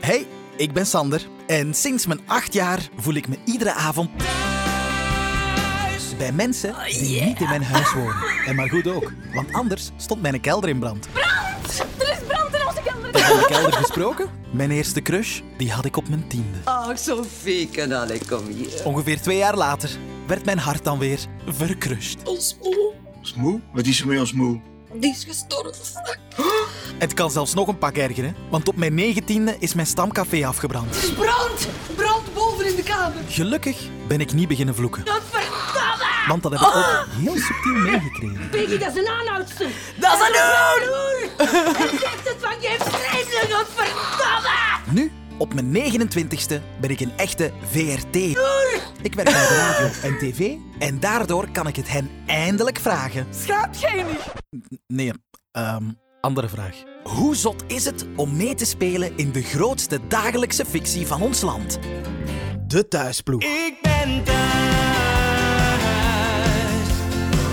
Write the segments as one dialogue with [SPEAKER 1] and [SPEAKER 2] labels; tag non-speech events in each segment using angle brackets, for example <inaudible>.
[SPEAKER 1] Hey, ik ben Sander en sinds mijn acht jaar voel ik me iedere avond bij mensen die niet in mijn huis wonen. En maar goed ook, want anders stond mijn kelder in brand.
[SPEAKER 2] Er is brand in onze kelder.
[SPEAKER 1] Over mijn kelder gesproken? Mijn eerste crush, die had ik op mijn tiende.
[SPEAKER 3] Ach, Sophie, kanale, kom hier.
[SPEAKER 1] Ongeveer twee jaar later werd mijn hart dan weer verkrust.
[SPEAKER 2] Ons oom,
[SPEAKER 4] Ons moe? Wat is er met ons moe?
[SPEAKER 2] die is gestorven.
[SPEAKER 1] Het kan zelfs nog een pak ergeren, want op mijn negentiende is mijn stamcafé afgebrand.
[SPEAKER 2] Er is brand. Brand boven in de kamer.
[SPEAKER 1] Gelukkig ben ik niet beginnen vloeken,
[SPEAKER 2] Dat verdamme.
[SPEAKER 1] want dat heb ik ook heel subtiel meegekregen.
[SPEAKER 2] Peggy, dat is een aanhoudster.
[SPEAKER 3] Dat is een
[SPEAKER 2] Hij zegt het van je heeft vreemdeling. Dat verdamme.
[SPEAKER 1] Nu, op mijn 29ste, ben ik een echte VRT. Ik werk bij de radio en tv en daardoor kan ik het hen eindelijk vragen.
[SPEAKER 2] Schaamt jij niet?
[SPEAKER 1] Nee, ehm, andere vraag. Hoe zot is het om mee te spelen in de grootste dagelijkse fictie van ons land? De thuisploeg.
[SPEAKER 5] Ik ben thuis,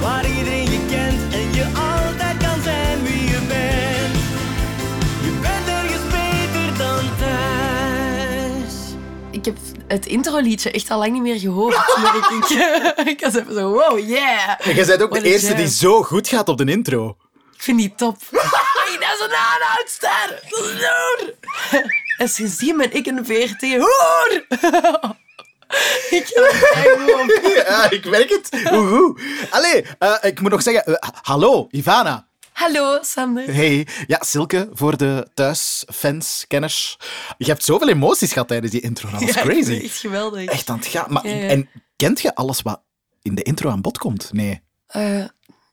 [SPEAKER 5] waar iedereen je kent en je altijd kan zijn wie je bent. Je bent ergens beter dan thuis.
[SPEAKER 6] Ik heb het introliedje echt al lang niet meer gehoord. <laughs> Maar ik, ik, ik was even zo, wow, yeah.
[SPEAKER 1] En jij bent ook
[SPEAKER 6] What
[SPEAKER 1] de
[SPEAKER 6] a
[SPEAKER 1] eerste
[SPEAKER 6] jam.
[SPEAKER 1] die zo goed gaat op de intro.
[SPEAKER 6] Ik vind die top. Ai, dat is een aanhoudster. Dat is een hoer. En sindsdien ben ik een VRT hoer. <laughs> Ik heb het echt gewoon-
[SPEAKER 1] <laughs> Ja, ik merk het. Hoe goed. Allee, eh, ik moet nog zeggen... eh, ha- hallo, Ivana.
[SPEAKER 6] Hallo, Sander.
[SPEAKER 1] Hey. Ja, Silke, voor de thuisfans, kenners. Je hebt zoveel emoties gehad tijdens die intro. Dat was
[SPEAKER 6] <laughs> Ja, ik vind
[SPEAKER 1] crazy.
[SPEAKER 6] het echt geweldig.
[SPEAKER 1] Echt aan het gaan. Maar,
[SPEAKER 6] Ja, ja.
[SPEAKER 1] En kent je alles wat in de intro aan bod komt? Nee.
[SPEAKER 6] Eh,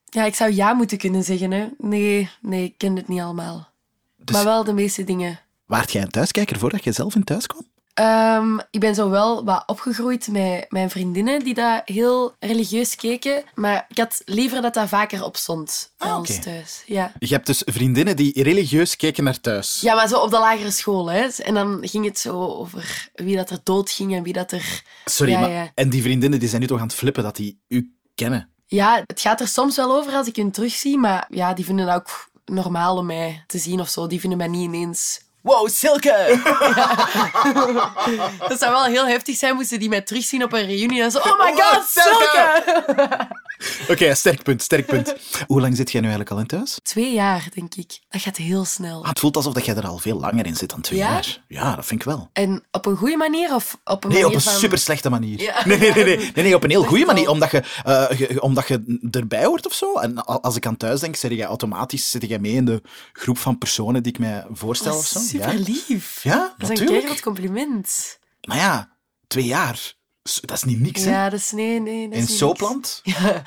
[SPEAKER 6] ja, ik zou ja moeten kunnen zeggen. Hè. Nee, nee, ik ken het niet allemaal.
[SPEAKER 1] Dus-
[SPEAKER 6] Maar wel de meeste dingen.
[SPEAKER 1] Waart jij een thuiskijker voordat je zelf in thuis kwam?
[SPEAKER 6] Ehm, ik ben zo wel wat opgegroeid met mijn vriendinnen die dat heel religieus keken. Maar ik had liever dat dat vaker opstond bij
[SPEAKER 1] Ah,
[SPEAKER 6] ons
[SPEAKER 1] oké.
[SPEAKER 6] thuis. Ja.
[SPEAKER 1] Je hebt dus vriendinnen die religieus keken naar thuis.
[SPEAKER 6] ja, maar zo op de lagere school. Hè. En dan ging het zo over wie dat er dood ging en wie dat er...
[SPEAKER 1] Sorry,
[SPEAKER 6] Ja,
[SPEAKER 1] maar...
[SPEAKER 6] ja.
[SPEAKER 1] En die vriendinnen die zijn nu toch aan het flippen dat die u kennen?
[SPEAKER 6] Ja, het gaat er soms wel over als ik hun terugzie. Maar ja, die vinden het ook normaal om mij te zien of zo. Die vinden mij niet ineens... Wow,
[SPEAKER 1] <laughs>
[SPEAKER 6] Silke! Ja. <laughs> Dat zou wel heel heftig zijn, moesten die mij terugzien op een reunie. En zo, oh my
[SPEAKER 1] Wow,
[SPEAKER 6] god,
[SPEAKER 1] Silke!
[SPEAKER 6] Silke!
[SPEAKER 1] <laughs> Oké, sterk punt, sterk punt. Hoe lang zit jij nu eigenlijk al in thuis?
[SPEAKER 6] Twee jaar, denk ik. Dat gaat heel snel.
[SPEAKER 1] Ah, het voelt alsof dat jij er al veel langer in zit dan twee
[SPEAKER 6] Ja?
[SPEAKER 1] jaar. Ja, dat vind ik wel.
[SPEAKER 6] En op een goede manier of op een
[SPEAKER 1] Nee,
[SPEAKER 6] manier
[SPEAKER 1] op een
[SPEAKER 6] van...
[SPEAKER 1] super slechte manier.
[SPEAKER 6] Ja.
[SPEAKER 1] Nee, nee, nee,
[SPEAKER 6] <laughs>
[SPEAKER 1] nee, nee, nee, op een heel goede
[SPEAKER 6] wel.
[SPEAKER 1] manier, omdat je, eh, je- je- omdat je erbij hoort of zo. En a- als ik aan thuis denk, zit jij automatisch zit jij mee in de groep van personen die ik mij voorstel
[SPEAKER 6] Dat
[SPEAKER 1] of
[SPEAKER 6] is
[SPEAKER 1] zo.
[SPEAKER 6] super
[SPEAKER 1] Ja.
[SPEAKER 6] lief.
[SPEAKER 1] Ja,
[SPEAKER 6] Oh, dat is een
[SPEAKER 1] natuurlijk.
[SPEAKER 6] keihard compliment.
[SPEAKER 1] Maar ja, twee jaar, s- dat is niet niks. hè?
[SPEAKER 6] Ja, dat is... Nee, nee, dat is
[SPEAKER 1] in
[SPEAKER 6] niet niks.
[SPEAKER 1] Soopland?
[SPEAKER 6] Ja.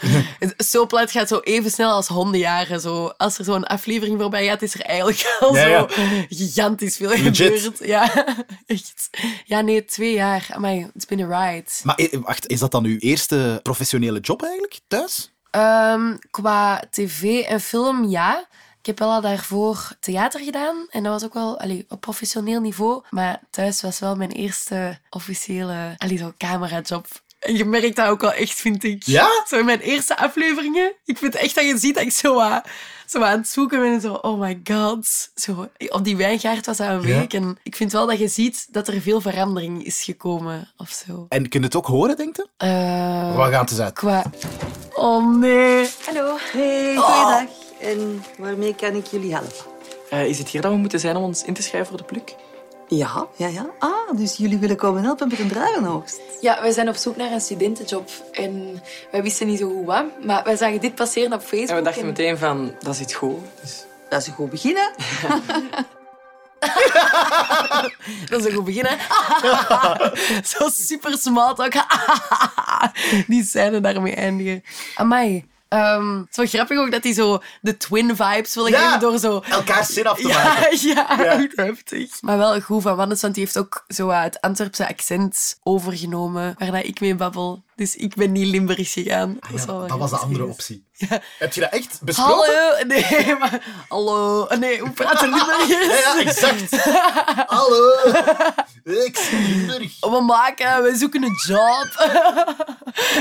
[SPEAKER 6] Soapland gaat zo even snel als hondenjaren. Zo. Als er zo'n aflevering voorbij gaat, is er eigenlijk al
[SPEAKER 1] Ja, ja.
[SPEAKER 6] zo gigantisch veel
[SPEAKER 1] Legit.
[SPEAKER 6] gebeurd. Ja, <laughs> echt. Ja, nee, twee jaar. Amai, it's been a ride.
[SPEAKER 1] Maar eh, wacht, is dat dan uw eerste professionele job eigenlijk, thuis?
[SPEAKER 6] Ehm, qua tv en film, ja. Ik heb wel al daarvoor theater gedaan. En dat was ook wel allee, op professioneel niveau. Maar thuis was wel mijn eerste officiële allee, zo camerajob. En je merkt dat ook wel echt, vind ik.
[SPEAKER 1] Ja?
[SPEAKER 6] Zo in mijn eerste afleveringen. Ik vind echt dat je ziet dat ik zo, wat- zo wat aan het zoeken ben. En zo, oh my god. Zo, op die wijngaard was dat een
[SPEAKER 1] Ja.
[SPEAKER 6] week. En ik vind wel dat je ziet dat er veel verandering is gekomen. Of zo.
[SPEAKER 1] En kun je het ook horen, denk je?
[SPEAKER 6] Eh,
[SPEAKER 1] Wat gaat het uit?
[SPEAKER 6] qua... Oh nee.
[SPEAKER 2] Hallo.
[SPEAKER 3] Hey, goeiedag. En waarmee kan ik jullie helpen?
[SPEAKER 7] Eh, is het hier dat we moeten zijn om ons in te schrijven voor de pluk?
[SPEAKER 3] Ja, ja, ja. Ah, dus jullie willen komen helpen met een druivenhoogst.
[SPEAKER 6] Ja, wij zijn op zoek naar een studentenjob. En wij wisten niet zo goed wat, maar wij zagen dit passeren op Facebook.
[SPEAKER 7] En we dachten meteen van, dat is iets goed. Dus
[SPEAKER 3] Dat is een goed begin, hè?
[SPEAKER 6] Dat is een goed begin, hè? <laughs> zo super smart ook. <laughs> die scène daarmee eindigen. Amai. Ehm zo grappig ook dat die zo de twin vibes willen
[SPEAKER 1] Ja.
[SPEAKER 6] geven door zo...
[SPEAKER 1] Elkaar zin af te maken.
[SPEAKER 6] <laughs> Ja, ja, echt heftig. Maar wel goed van Wannes, want die heeft ook zo wat het Antwerpse accent overgenomen, waar dat ik mee babbel. Dus ik ben niet Limburgs gegaan.
[SPEAKER 1] Ah ja,
[SPEAKER 6] is wel
[SPEAKER 1] dat was de
[SPEAKER 6] grappig.
[SPEAKER 1] andere optie. Heb je dat echt besproken?
[SPEAKER 6] Hallo, <laughs> nee, maar hallo, nee, hoe
[SPEAKER 1] <laughs>
[SPEAKER 6] praten Limburgers?
[SPEAKER 1] Ja, ja, exact.
[SPEAKER 6] <laughs>
[SPEAKER 1] Hallo. Ik zie Limburg.
[SPEAKER 6] We maken, we zoeken een job.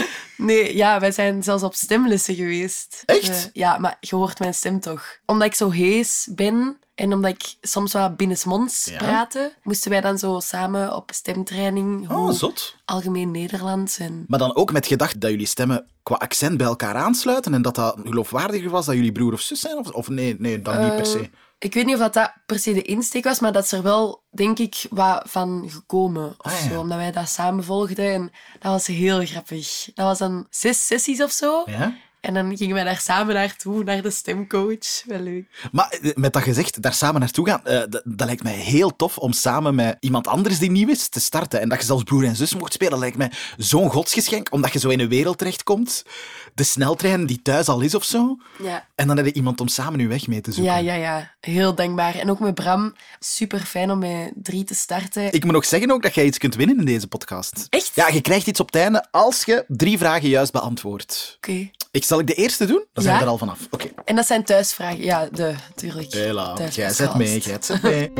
[SPEAKER 6] <laughs> Nee, ja, wij zijn zelfs op stemlessen geweest.
[SPEAKER 1] Echt?
[SPEAKER 6] Eh, ja, maar je hoort mijn stem toch. Omdat ik zo hees ben en omdat ik soms wel binnensmonds
[SPEAKER 1] Ja.
[SPEAKER 6] praatte, moesten wij dan zo samen op stemtraining
[SPEAKER 1] Oh,
[SPEAKER 6] hoe
[SPEAKER 1] zot.
[SPEAKER 6] algemeen Nederlands. En...
[SPEAKER 1] Maar dan ook met gedacht dat jullie stemmen qua accent bij elkaar aansluiten en dat dat geloofwaardiger was dat jullie broer of zus zijn? Of, of nee, nee, dan niet per
[SPEAKER 6] Eh,
[SPEAKER 1] se.
[SPEAKER 6] Ik weet niet of dat, dat per se de insteek was, maar dat is er wel, denk ik, wat van gekomen of
[SPEAKER 1] Ah, ja.
[SPEAKER 6] zo. Omdat wij dat samen volgden en dat was heel grappig. Dat was dan zes sessies of zo.
[SPEAKER 1] Ja?
[SPEAKER 6] En dan gingen wij daar samen naartoe, naar de stemcoach. Wel leuk.
[SPEAKER 1] Maar eh, met dat gezegd, daar samen naartoe gaan, eh, dat, dat lijkt mij heel tof om samen met iemand anders die nieuw is te starten. En dat je zelfs broer en zus mocht spelen, lijkt mij zo'n godsgeschenk, omdat je zo in een wereld terechtkomt. De sneltrein die thuis al is of zo.
[SPEAKER 6] Ja.
[SPEAKER 1] En dan heb je iemand om samen je weg mee te zoeken.
[SPEAKER 6] Ja, ja, ja. Heel dankbaar. En ook met Bram. Super fijn om met drie te starten.
[SPEAKER 1] Ik moet nog zeggen ook dat jij iets kunt winnen in deze podcast.
[SPEAKER 6] Echt?
[SPEAKER 1] Ja, je krijgt iets op het einde als je drie vragen juist beantwoordt.
[SPEAKER 6] Oké.
[SPEAKER 1] Ik zal ik de eerste doen, dan zijn
[SPEAKER 6] Ja?
[SPEAKER 1] we er al vanaf. Oké.
[SPEAKER 6] En dat zijn thuisvragen. Ja, de, tuurlijk.
[SPEAKER 1] Hela,
[SPEAKER 6] Thuis-
[SPEAKER 1] jij zet mee,
[SPEAKER 6] podcast.
[SPEAKER 1] jij zet
[SPEAKER 6] <laughs>
[SPEAKER 1] mee.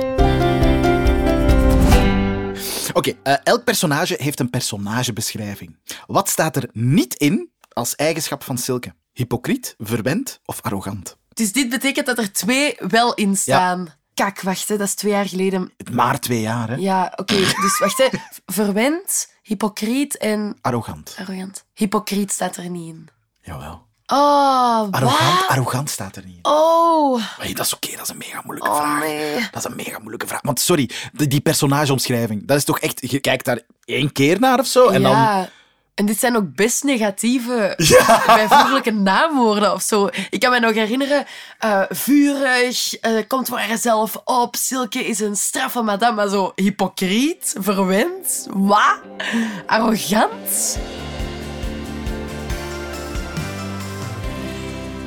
[SPEAKER 1] Oké, eh, elk personage heeft een personagebeschrijving. Wat staat er niet in als eigenschap van Silke? Hypocriet, verwend of arrogant?
[SPEAKER 6] Dus dit betekent dat er twee wel in staan. Kak, wacht, hè, dat is twee jaar geleden.
[SPEAKER 1] Maar twee jaar, hè?
[SPEAKER 6] Ja, oké.
[SPEAKER 1] <laughs>
[SPEAKER 6] Dus wacht, hè. verwend, hypocriet en
[SPEAKER 1] Arrogant.
[SPEAKER 6] arrogant. Hypocriet staat er niet in.
[SPEAKER 1] Jawel.
[SPEAKER 6] Oh,
[SPEAKER 1] Arrogant,
[SPEAKER 6] wat?
[SPEAKER 1] arrogant staat er niet in.
[SPEAKER 6] Oh,
[SPEAKER 1] Hey, dat is oké, dat is een mega moeilijke
[SPEAKER 6] oh
[SPEAKER 1] vraag.
[SPEAKER 6] nee.
[SPEAKER 1] Dat is een mega moeilijke vraag. Want sorry, die, die personageomschrijving, dat is toch echt... Je kijkt daar één keer naar of zo en dan...
[SPEAKER 6] ja. En dit zijn ook best
[SPEAKER 1] <laughs>
[SPEAKER 6] negatieve bijvoeglijke naamwoorden of zo. Ik kan me nog herinneren, eh, vurig, eh, komt voor haarzelf op, Silke is een straffe madame, maar zo hypocriet, verwend, wat? Arrogant?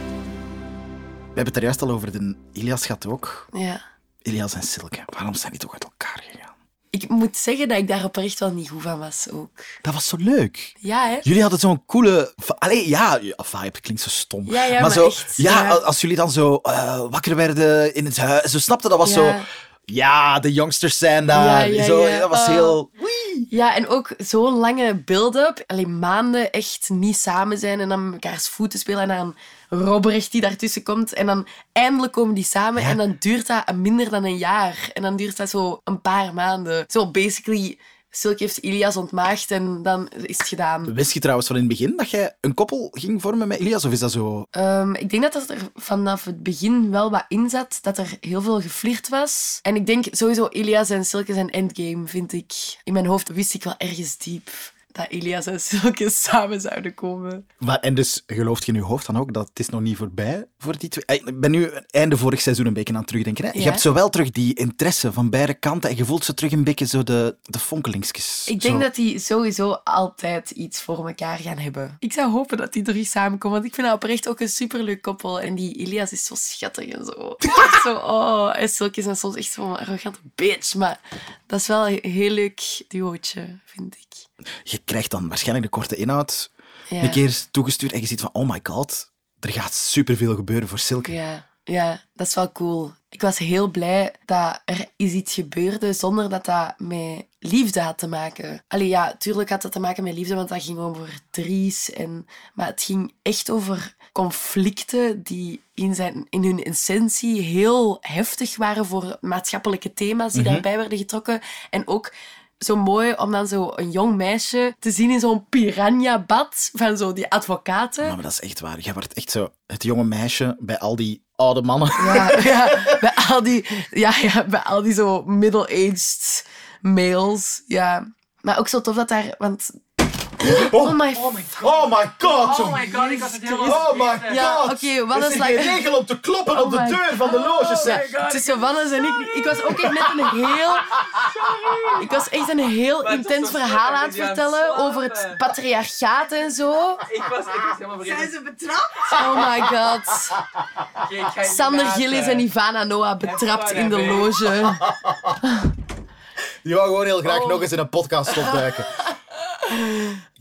[SPEAKER 1] We hebben het er juist al over, de Ilias gaat ook.
[SPEAKER 6] Ja.
[SPEAKER 1] Ilias en Silke, waarom zijn die toch uit elkaar gegaan?
[SPEAKER 6] Ik moet zeggen dat ik daar oprecht wel niet goed van was ook.
[SPEAKER 1] Dat was zo leuk.
[SPEAKER 6] Ja, hè?
[SPEAKER 1] Jullie hadden zo'n coole... va- Allee, ja, ja, vibe klinkt zo stom.
[SPEAKER 6] Ja, ja, maar
[SPEAKER 1] zo,
[SPEAKER 6] echt,
[SPEAKER 1] ja,
[SPEAKER 6] ja.
[SPEAKER 1] a- als jullie dan zo eh, wakker werden in het huis, zo snapte dat was
[SPEAKER 6] Ja.
[SPEAKER 1] zo... Ja, de youngsters zijn daar.
[SPEAKER 6] Ja, ja,
[SPEAKER 1] zo,
[SPEAKER 6] ja.
[SPEAKER 1] Dat was
[SPEAKER 6] Oh.
[SPEAKER 1] heel...
[SPEAKER 6] Ja, en ook zo'n lange build-up. Alleen maanden echt niet samen zijn en dan met mekaars voeten spelen. En dan Robrecht die daartussen komt. En dan eindelijk komen die samen.
[SPEAKER 1] Ja.
[SPEAKER 6] En dan duurt dat minder dan een jaar. En dan duurt dat zo een paar maanden. Zo basically, Silke heeft Ilias ontmaagd en dan is het gedaan.
[SPEAKER 1] Wist je trouwens van in het begin dat jij een koppel ging vormen met Ilias? Of is dat zo...
[SPEAKER 6] Ehm, ik denk dat dat er vanaf het begin wel wat in zat. Dat er heel veel geflirt was. En ik denk sowieso Ilias en Silke zijn endgame, vind ik. In mijn hoofd wist ik wel ergens diep dat Ilias en Silke <laughs> samen zouden komen.
[SPEAKER 1] Maar, en dus gelooft je in je hoofd dan ook dat het is nog niet voorbij voor die twee? Ik ben nu einde vorig seizoen een beetje aan het terugdenken. Hè? Je
[SPEAKER 6] Ja.
[SPEAKER 1] hebt zowel terug die interesse van beide kanten en je voelt zo terug een beetje zo de, de fonkelingsjes.
[SPEAKER 6] Ik denk
[SPEAKER 1] Zo.
[SPEAKER 6] dat die sowieso altijd iets voor elkaar gaan hebben. Ik zou hopen dat die terug samenkomen, want ik vind dat oprecht ook een superleuk koppel. En die Ilias is zo schattig en zo. Echt zo oh, en Silke is dan soms echt zo'n arrogante bitch. Maar dat is wel een heel leuk duootje, vind ik.
[SPEAKER 1] Je krijgt dan waarschijnlijk de korte inhoud
[SPEAKER 6] Ja.
[SPEAKER 1] een keer toegestuurd en je ziet van, oh my god, er gaat superveel gebeuren voor Silke.
[SPEAKER 6] Ja, ja, dat is wel cool. Ik was heel blij dat er is iets gebeurde zonder dat dat met liefde had te maken. Allee, ja, tuurlijk had dat te maken met liefde, want dat ging over Dries. En... Maar het ging echt over conflicten die in, zijn, in hun essentie heel heftig waren voor maatschappelijke thema's die daarbij werden getrokken. En ook zo mooi om dan zo een jong meisje te zien in zo'n piranha-bad van zo die advocaten.
[SPEAKER 1] Nou, maar dat is echt waar. Jij wordt echt zo het jonge meisje bij al die oude mannen. <laughs>
[SPEAKER 2] <laughs>
[SPEAKER 6] Ja, ja, bij al die, ja, ja, bij al die zo middle-aged males. Ja. Maar ook zo tof dat daar, want. Oh my.
[SPEAKER 1] Oh my god! zo-
[SPEAKER 7] god, ik was het
[SPEAKER 1] Oh my god!
[SPEAKER 6] Ja, oké, wat
[SPEAKER 1] Er
[SPEAKER 6] is
[SPEAKER 1] zit geen
[SPEAKER 6] like- Oh
[SPEAKER 1] regel om te kloppen op de
[SPEAKER 6] my-
[SPEAKER 1] deur van de loge,
[SPEAKER 7] Oh
[SPEAKER 1] zeg.
[SPEAKER 6] Ja, tussen Wannes en ik. Ik was ook echt net een heel. Ik was echt een heel
[SPEAKER 7] het is
[SPEAKER 6] intens
[SPEAKER 7] zo
[SPEAKER 6] verhaal
[SPEAKER 7] leuk,
[SPEAKER 6] aan het
[SPEAKER 7] die aan het
[SPEAKER 6] vertellen
[SPEAKER 7] slapen.
[SPEAKER 6] over het patriarchaat en zo.
[SPEAKER 7] Ik was, ik was helemaal vergeten.
[SPEAKER 2] ze betrapt?
[SPEAKER 6] Oh my god.
[SPEAKER 7] Oké, ik ga
[SPEAKER 6] Sander
[SPEAKER 7] inderdaad,
[SPEAKER 6] Gillis
[SPEAKER 7] eh,
[SPEAKER 6] en Ivana Noah betrapt in de loge.
[SPEAKER 1] Die wou gewoon heel graag nog eens in een <laughs> podcast opduiken.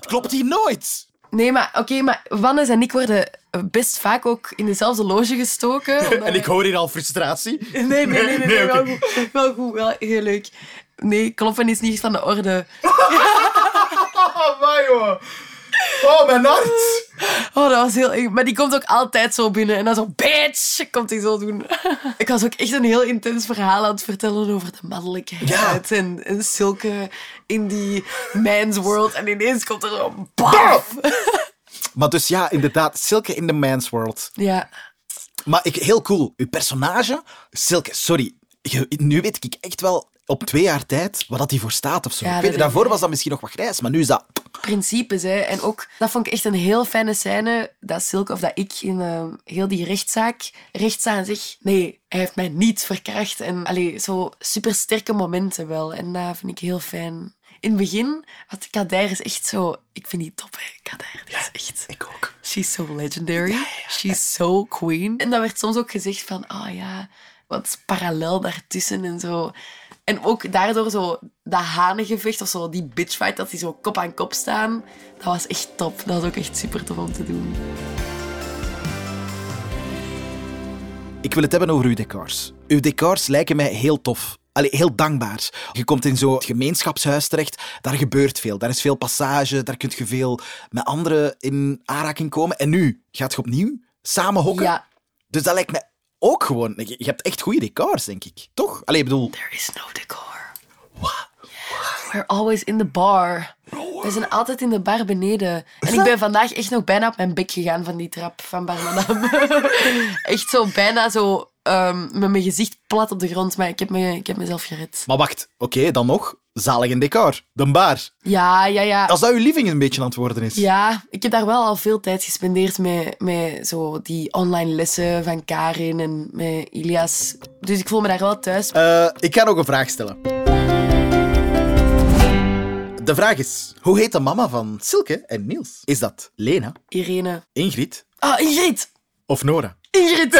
[SPEAKER 1] Klopt hier nooit?
[SPEAKER 6] Nee, maar oké, maar Wannes en ik worden best vaak ook in dezelfde loge gestoken.
[SPEAKER 1] <laughs>
[SPEAKER 6] omdat
[SPEAKER 1] En
[SPEAKER 6] wij-
[SPEAKER 1] ik hoor hier al frustratie. <laughs>
[SPEAKER 6] Nee, nee, nee, nee, nee,
[SPEAKER 1] oké.
[SPEAKER 6] wel, goed, wel goed, wel heel leuk. Nee, kloppen is niet van de orde.
[SPEAKER 1] Amai, hoor. Ah, Oh, mijn hart.
[SPEAKER 6] Oh, dat was heel eng. Maar die komt ook altijd zo binnen. En dan zo, bitch, komt hij
[SPEAKER 1] <laughs>
[SPEAKER 6] zo doen. ik was ook echt een heel intens verhaal aan het vertellen over de mannelijkheid. En, en zulke in die man's world. En ineens komt er zo, baf.
[SPEAKER 1] Maar dus ja, inderdaad, Silke in the man's world.
[SPEAKER 6] ja,
[SPEAKER 1] Maar ik, heel cool. Uw personage, Silke, sorry. Je- nu weet ik echt wel op twee jaar tijd wat dat die voor staat of zo.
[SPEAKER 6] Ja,
[SPEAKER 1] Ik
[SPEAKER 6] dat
[SPEAKER 1] weet-
[SPEAKER 6] weet
[SPEAKER 1] daarvoor
[SPEAKER 6] ik.
[SPEAKER 1] was dat misschien nog wat grijs, maar nu is dat...
[SPEAKER 6] principes. Hè. En ook, dat vond ik echt een heel fijne scène. Dat Silke, of dat ik in ehm, heel die rechtszaak rechtsaan zeg... Nee, hij heeft mij niet verkracht. En allee, zo supersterke momenten wel. En dat vind ik heel fijn. In het begin, want Kader is echt zo... Ik vind die top, hè. Kader, die is echt...
[SPEAKER 1] Ik ook.
[SPEAKER 6] She's so legendary. She's so queen. En dan werd soms ook gezegd van, ah ja, wat parallel daartussen en zo. En ook daardoor zo dat hanengevecht of zo, die bitchfight, dat die zo kop aan kop staan. Dat was echt top. Dat was ook echt super tof om te doen.
[SPEAKER 1] Ik wil het hebben over uw decors. Uw decors lijken mij heel tof. Allee, heel dankbaar. Je komt in zo'n gemeenschapshuis terecht, daar gebeurt veel. Daar is veel passage, daar kun je veel met anderen in aanraking komen. En nu gaat je opnieuw samen hokken.
[SPEAKER 6] Ja,
[SPEAKER 1] Dus dat lijkt mij ook gewoon... Je je hebt echt goede decors, denk ik. Toch? Allee, ik bedoel...
[SPEAKER 6] there is no decor. We're always in the bar. We zijn altijd in de bar beneden. En ik ben vandaag echt nog bijna op mijn bek gegaan van die trap van Bar Madame. <laughs> echt zo bijna zo ehm, met mijn gezicht plat op de grond, maar ik heb, me, ik heb mezelf gered.
[SPEAKER 1] Maar wacht, oké, dan nog. Zalig een decor. De bar.
[SPEAKER 6] Ja, ja, ja.
[SPEAKER 1] Als dat uw living een beetje aan het worden is.
[SPEAKER 6] Ja, ik heb daar wel al veel tijd gespendeerd met, met zo die online lessen van Karin en met Ilias. Dus ik voel me daar wel thuis.
[SPEAKER 1] Eh, ik ga nog een vraag stellen. De vraag is, hoe heet de mama van Silke en Niels? Is dat Lena,
[SPEAKER 6] Irene.
[SPEAKER 1] Ingrid
[SPEAKER 6] Ah, Ingrid!
[SPEAKER 1] of Nora?
[SPEAKER 6] Ingrid!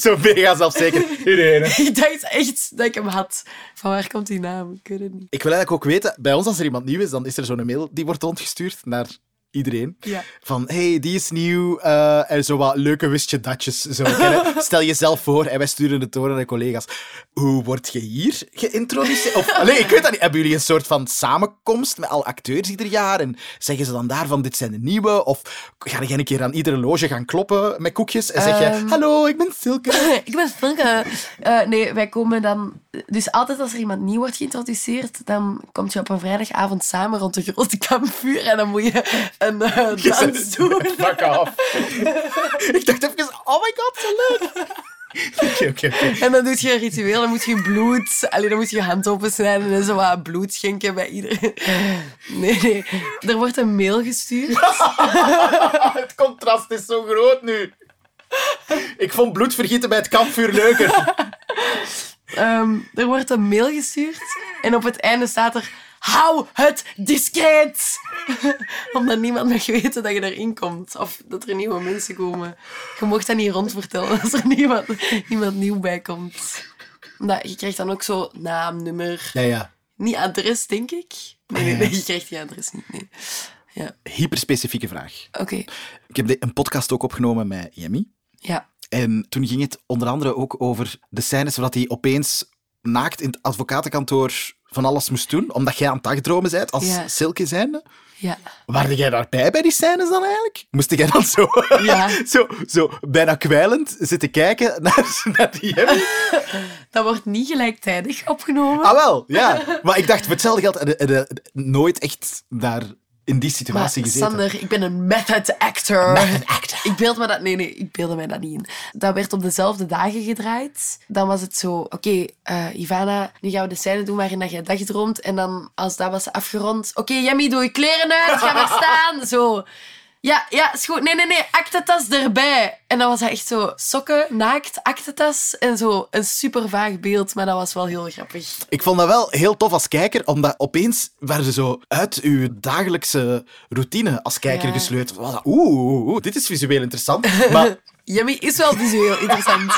[SPEAKER 1] Zo mega zelfzeker. Irene.
[SPEAKER 6] <laughs> ik dacht echt dat ik hem had. Van waar komt die naam? Ik weet het niet.
[SPEAKER 1] Ik wil eigenlijk ook weten, bij ons als er iemand nieuw is, dan is er zo'n mail die wordt rondgestuurd naar iedereen.
[SPEAKER 6] Ja.
[SPEAKER 1] Van, hey, die is nieuw. eh, en zo wat leuke wistje datjes. Zo,
[SPEAKER 6] <laughs>
[SPEAKER 1] kennen. Stel jezelf voor en wij sturen het door naar de collega's. Hoe word je hier geïntroduceerd? Of, allee, ik weet dat niet. Hebben jullie een soort van samenkomst met al acteurs ieder jaar? En zeggen ze dan daarvan, dit zijn de nieuwe? Of ga jij een keer aan iedere loge gaan kloppen met koekjes? En zeg je,
[SPEAKER 6] Ehm.
[SPEAKER 1] hallo, ik ben Silke.
[SPEAKER 6] <laughs> Ik ben Funke. Eh, nee, wij komen dan... Dus altijd als er iemand nieuw wordt geïntroduceerd, dan kom je op een vrijdagavond samen rond een grote kampvuur en dan moet <laughs> je een eh, dans doen.
[SPEAKER 1] Fuck off. <laughs> ik dacht even, oh my god, zo leuk. <laughs> Oké, oké, oké.
[SPEAKER 6] En dan doe je een ritueel, dan moet je bloed... Allee, dan moet je je hand opensnijden en zo wat bloed schenken bij iedereen. <laughs> Nee, nee. Er wordt een mail gestuurd.
[SPEAKER 1] Het contrast is zo groot nu. Ik vond bloedvergieten bij het kampvuur leuker.
[SPEAKER 6] Ehm, er wordt een mail gestuurd en op het einde staat er... Hou het discreet! <laughs> Omdat niemand mag weten dat je erin komt. Of dat er nieuwe mensen komen. Je mocht dat niet rondvertellen als er niemand, niemand nieuw bij komt. Omdat je krijgt dan ook zo naam, nummer...
[SPEAKER 1] <laughs> Ja, ja.
[SPEAKER 6] Niet adres, denk ik. Nee, nee, nee, je krijgt die adres niet. Nee.
[SPEAKER 1] Hyperspecifieke vraag.
[SPEAKER 6] Oké,
[SPEAKER 1] Ik heb de- een podcast ook opgenomen met Jemmy.
[SPEAKER 6] ja.
[SPEAKER 1] En toen ging het onder andere ook over de scènes waar hij opeens naakt in het advocatenkantoor van alles moest doen, omdat jij aan het dagdromen bent als
[SPEAKER 6] Ja.
[SPEAKER 1] Silke zijnde.
[SPEAKER 6] Ja.
[SPEAKER 1] Waarde jij daarbij bij die scènes dan eigenlijk? Moest jij dan zo,
[SPEAKER 6] Ja.
[SPEAKER 1] <laughs> zo, zo bijna kwijlend zitten kijken naar, <laughs> naar die Jemmy?
[SPEAKER 6] Dat wordt niet gelijktijdig opgenomen.
[SPEAKER 1] Ah, wel, ja. Maar ik dacht, voor hetzelfde geld heb je- heb je nooit echt daar in die
[SPEAKER 6] maar
[SPEAKER 1] situatie gezeten.
[SPEAKER 6] Sander, ik ben een method actor. Ik beeld me dat... Nee, nee, ik beelde mij dat niet in. Dat werd op dezelfde dagen gedraaid. Dan was het zo... Oké, eh, Ivana, nu gaan we de scène doen waarin dat jij dagdroomt. En dan, als dat was afgerond... Oké, Jemmy, doe je kleren uit. Ga maar staan. Zo. Ja, ja, is goed. Nee, nee, nee, actetas erbij. En dan was hij echt zo sokken, naakt, actetas en zo. Een super vaag beeld, maar dat was wel heel grappig.
[SPEAKER 1] Ik vond dat wel heel tof als kijker, omdat opeens werden ze zo uit uw dagelijkse routine als kijker
[SPEAKER 6] Ja.
[SPEAKER 1] gesleurd. Was dat, Oeh, oeh, oeh, dit is visueel
[SPEAKER 6] <laughs>
[SPEAKER 1] interessant. Maar
[SPEAKER 6] Yummy is wel visueel
[SPEAKER 1] <laughs>
[SPEAKER 6] interessant.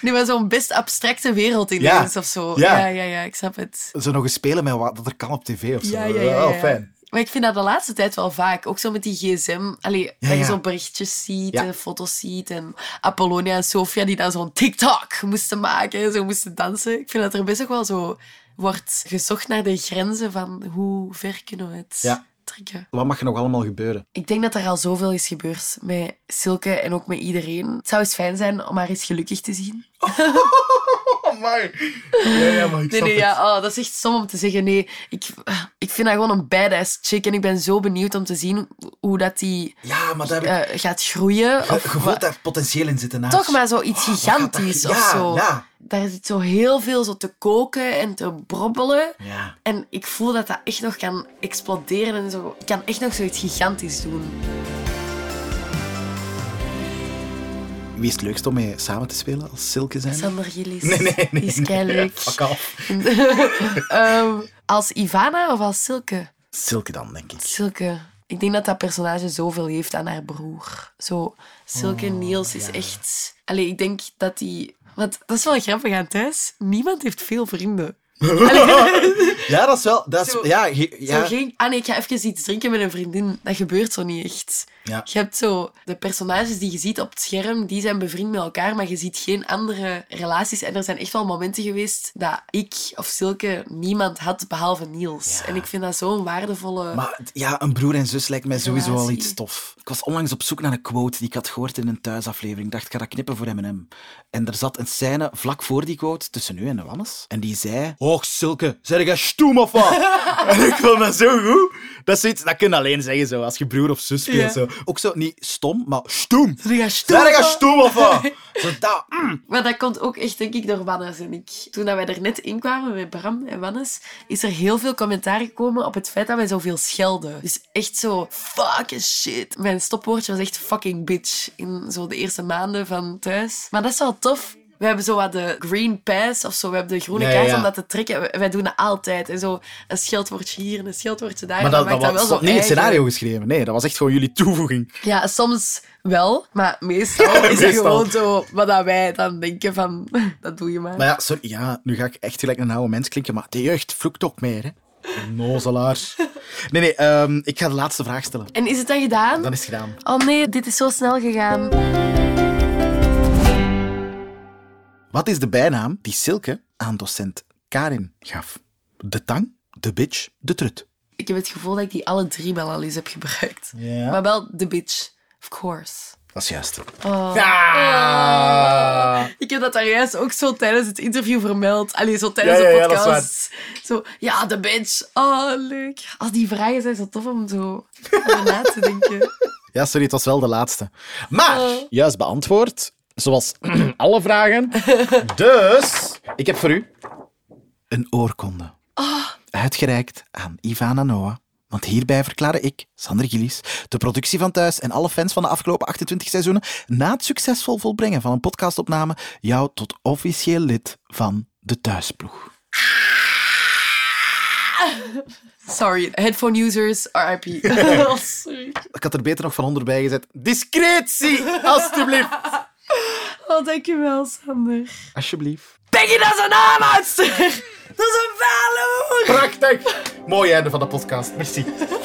[SPEAKER 6] nu maar zo'n best abstracte wereld ineens of zo.
[SPEAKER 1] Ja.
[SPEAKER 6] Ja. ja, ja, ik snap het.
[SPEAKER 1] zo nog eens spelen met wat dat er kan op tv of zo.
[SPEAKER 6] Ja, ja, ja,
[SPEAKER 1] Wel
[SPEAKER 6] ja.
[SPEAKER 1] fijn.
[SPEAKER 6] Maar ik vind dat de laatste tijd wel vaak. Ook zo met die gsm. Allee, dat
[SPEAKER 1] ja.
[SPEAKER 6] je zo berichtjes ziet
[SPEAKER 1] Ja.
[SPEAKER 6] en foto's ziet. En Apollonia en Sofia die dan zo'n TikTok moesten maken en zo moesten dansen. Ik vind dat er best ook wel zo wordt gezocht naar de grenzen van hoe ver kunnen we het
[SPEAKER 1] Ja.
[SPEAKER 6] trekken.
[SPEAKER 1] Wat mag er nog allemaal gebeuren?
[SPEAKER 6] Ik denk dat er al zoveel is gebeurd met Silke en ook met iedereen. Het zou eens fijn zijn om haar eens gelukkig te zien.
[SPEAKER 1] Oh, my. Ja, ja, maar ik
[SPEAKER 6] Nee,
[SPEAKER 1] snap
[SPEAKER 6] nee,
[SPEAKER 1] het.
[SPEAKER 6] ja, oh, dat is echt stom om te zeggen. Nee, ik, eh, ik vind haar gewoon een badass chick. En ik ben zo benieuwd om te zien hoe dat die
[SPEAKER 1] Ja, maar daar heb ik
[SPEAKER 6] eh, gaat groeien.
[SPEAKER 1] ge-
[SPEAKER 6] Of,
[SPEAKER 1] gevoeld
[SPEAKER 6] wat-
[SPEAKER 1] daar potentieel in zitten. naast.
[SPEAKER 6] toch maar zoiets
[SPEAKER 1] Wat gaat dat-
[SPEAKER 6] gigantisch
[SPEAKER 1] ja,
[SPEAKER 6] of zo.
[SPEAKER 1] Ja,
[SPEAKER 6] Daar zit zo heel veel zo te koken en te brobbelen.
[SPEAKER 1] ja.
[SPEAKER 6] En ik voel dat dat echt nog kan exploderen en zo. Ik kan echt nog zoiets gigantisch doen.
[SPEAKER 1] Wie is het leukst om mee samen te spelen als Silke zijn?
[SPEAKER 6] Sander Gillis.
[SPEAKER 1] Nee, nee, nee.
[SPEAKER 6] Die is keileuk.
[SPEAKER 1] Fuck off.
[SPEAKER 6] Ehm, als Ivana of als Silke?
[SPEAKER 1] Silke dan, denk ik.
[SPEAKER 6] Silke. Ik denk dat dat personage zoveel heeft aan haar broer. Zo,
[SPEAKER 1] Oh,
[SPEAKER 6] Silke Niels is echt... Allee, ik denk dat die... Want dat is wel grappig aan thuis. Niemand heeft veel vrienden.
[SPEAKER 1] Ja, dat is wel... Dat is,
[SPEAKER 6] Zo-
[SPEAKER 1] ja, ge- ja.
[SPEAKER 6] Zo ging... Ah nee, ik ga even iets drinken met een vriendin. Dat gebeurt zo niet echt.
[SPEAKER 1] Ja.
[SPEAKER 6] Je hebt zo... De personages die je ziet op het scherm, die zijn bevriend met elkaar, maar je ziet geen andere relaties. En er zijn echt wel momenten geweest dat ik of Silke niemand had, behalve Niels.
[SPEAKER 1] Ja.
[SPEAKER 6] En ik vind dat zo'n waardevolle...
[SPEAKER 1] Maar het- ja, een broer en zus lijkt mij sowieso wel
[SPEAKER 6] Relatie.
[SPEAKER 1] iets tof. Ik was onlangs op zoek naar een quote die ik had gehoord in een thuisaflevering. Ik dacht, ik ga dat knippen voor M&M. En er zat een scène vlak voor die quote tussen u en Wannes. En die zei... Och, Silke, zeg jij stoem of
[SPEAKER 6] <laughs>
[SPEAKER 1] wat? en ik vond dat zo goed. Dat, is zoiets, dat kun je alleen zeggen zo, als je broer of zus speelt.
[SPEAKER 6] Ja.
[SPEAKER 1] Zo. Ook zo, niet stom, maar stoem.
[SPEAKER 6] Zeg jij stoem
[SPEAKER 1] Zeg jij
[SPEAKER 6] of wat?
[SPEAKER 1] stoem of
[SPEAKER 6] <laughs>
[SPEAKER 1] wat? Zo dat, mm.
[SPEAKER 6] Maar dat komt ook echt, denk ik, door Wannes en ik. Toen dat wij er net inkwamen met Bram en Wannes, is er heel veel commentaar gekomen op het feit dat wij zoveel schelden. Dus echt zo, fucking shit. Mijn stopwoordje was echt fucking bitch in zo de eerste maanden van thuis. Maar dat is wel tof. We hebben zo wat de green pass of zo. We hebben de groene
[SPEAKER 1] Ja, ja,
[SPEAKER 6] kaart
[SPEAKER 1] ja.
[SPEAKER 6] om dat te trekken. Wij- Wij doen dat altijd. En zo een scheldwoordje hier en een scheldwoordje daar.
[SPEAKER 1] Maar dat, dat, was
[SPEAKER 6] maakt wel zo
[SPEAKER 1] niet in het
[SPEAKER 6] eigen.
[SPEAKER 1] scenario geschreven. Nee, dat was echt gewoon jullie toevoeging.
[SPEAKER 6] Ja, soms wel. Maar
[SPEAKER 1] <laughs>
[SPEAKER 6] meestal is het
[SPEAKER 1] Meestal.
[SPEAKER 6] gewoon zo wat dat wij dan denken van... <laughs> Dat doe je maar.
[SPEAKER 1] Maar ja, sorry, ja, nu ga ik echt gelijk een oude mens klinken, maar de jeugd vloekt ook meer, hè. Nozelaars. Nee, nee, ehm, ik ga de laatste vraag stellen.
[SPEAKER 6] En is het dan gedaan?
[SPEAKER 1] Dan is het gedaan.
[SPEAKER 6] Oh nee, dit is zo snel gegaan.
[SPEAKER 1] Wat is de bijnaam die Silke aan docent Karin gaf? De tang, de bitch, de trut.
[SPEAKER 6] Ik heb het gevoel dat ik die alle drie wel al eens heb gebruikt.
[SPEAKER 1] Ja.
[SPEAKER 6] Maar wel de bitch, of course.
[SPEAKER 1] Dat is juist.
[SPEAKER 6] Oh. Ik heb dat daar juist ook zo tijdens het interview vermeld. Allee, zo tijdens
[SPEAKER 1] Ja, ja,
[SPEAKER 6] de
[SPEAKER 1] ja, dat is
[SPEAKER 6] podcast. zo, ja, de bitch. Oh, leuk. Als die vragen zijn zo tof om zo over na te
[SPEAKER 1] <laughs>
[SPEAKER 6] denken.
[SPEAKER 1] Ja, sorry, het was wel de laatste. Maar, juist beantwoord, zoals <clears throat> alle vragen. Dus, ik heb voor u een oorkonde. Uitgereikt aan Ivana Noah. Want hierbij verklaarde ik, Sander Gillies, de productie van Thuis en alle fans van de afgelopen 28 seizoenen, na het succesvol volbrengen van een podcastopname, jou tot officieel lid van de Thuisploeg.
[SPEAKER 6] Sorry, headphone users,
[SPEAKER 1] <laughs>
[SPEAKER 6] RIP. <laughs> Oh, sorry.
[SPEAKER 1] Ik had er beter nog van onderbij gezet. Discretie, <laughs> alstublieft.
[SPEAKER 6] Oh, dankjewel, Sander.
[SPEAKER 1] Alsjeblieft.
[SPEAKER 6] Peggy, dat is een aanhoudster! <laughs> Dat is een vader!
[SPEAKER 1] Prachtig. Mooi einde van de podcast. Merci.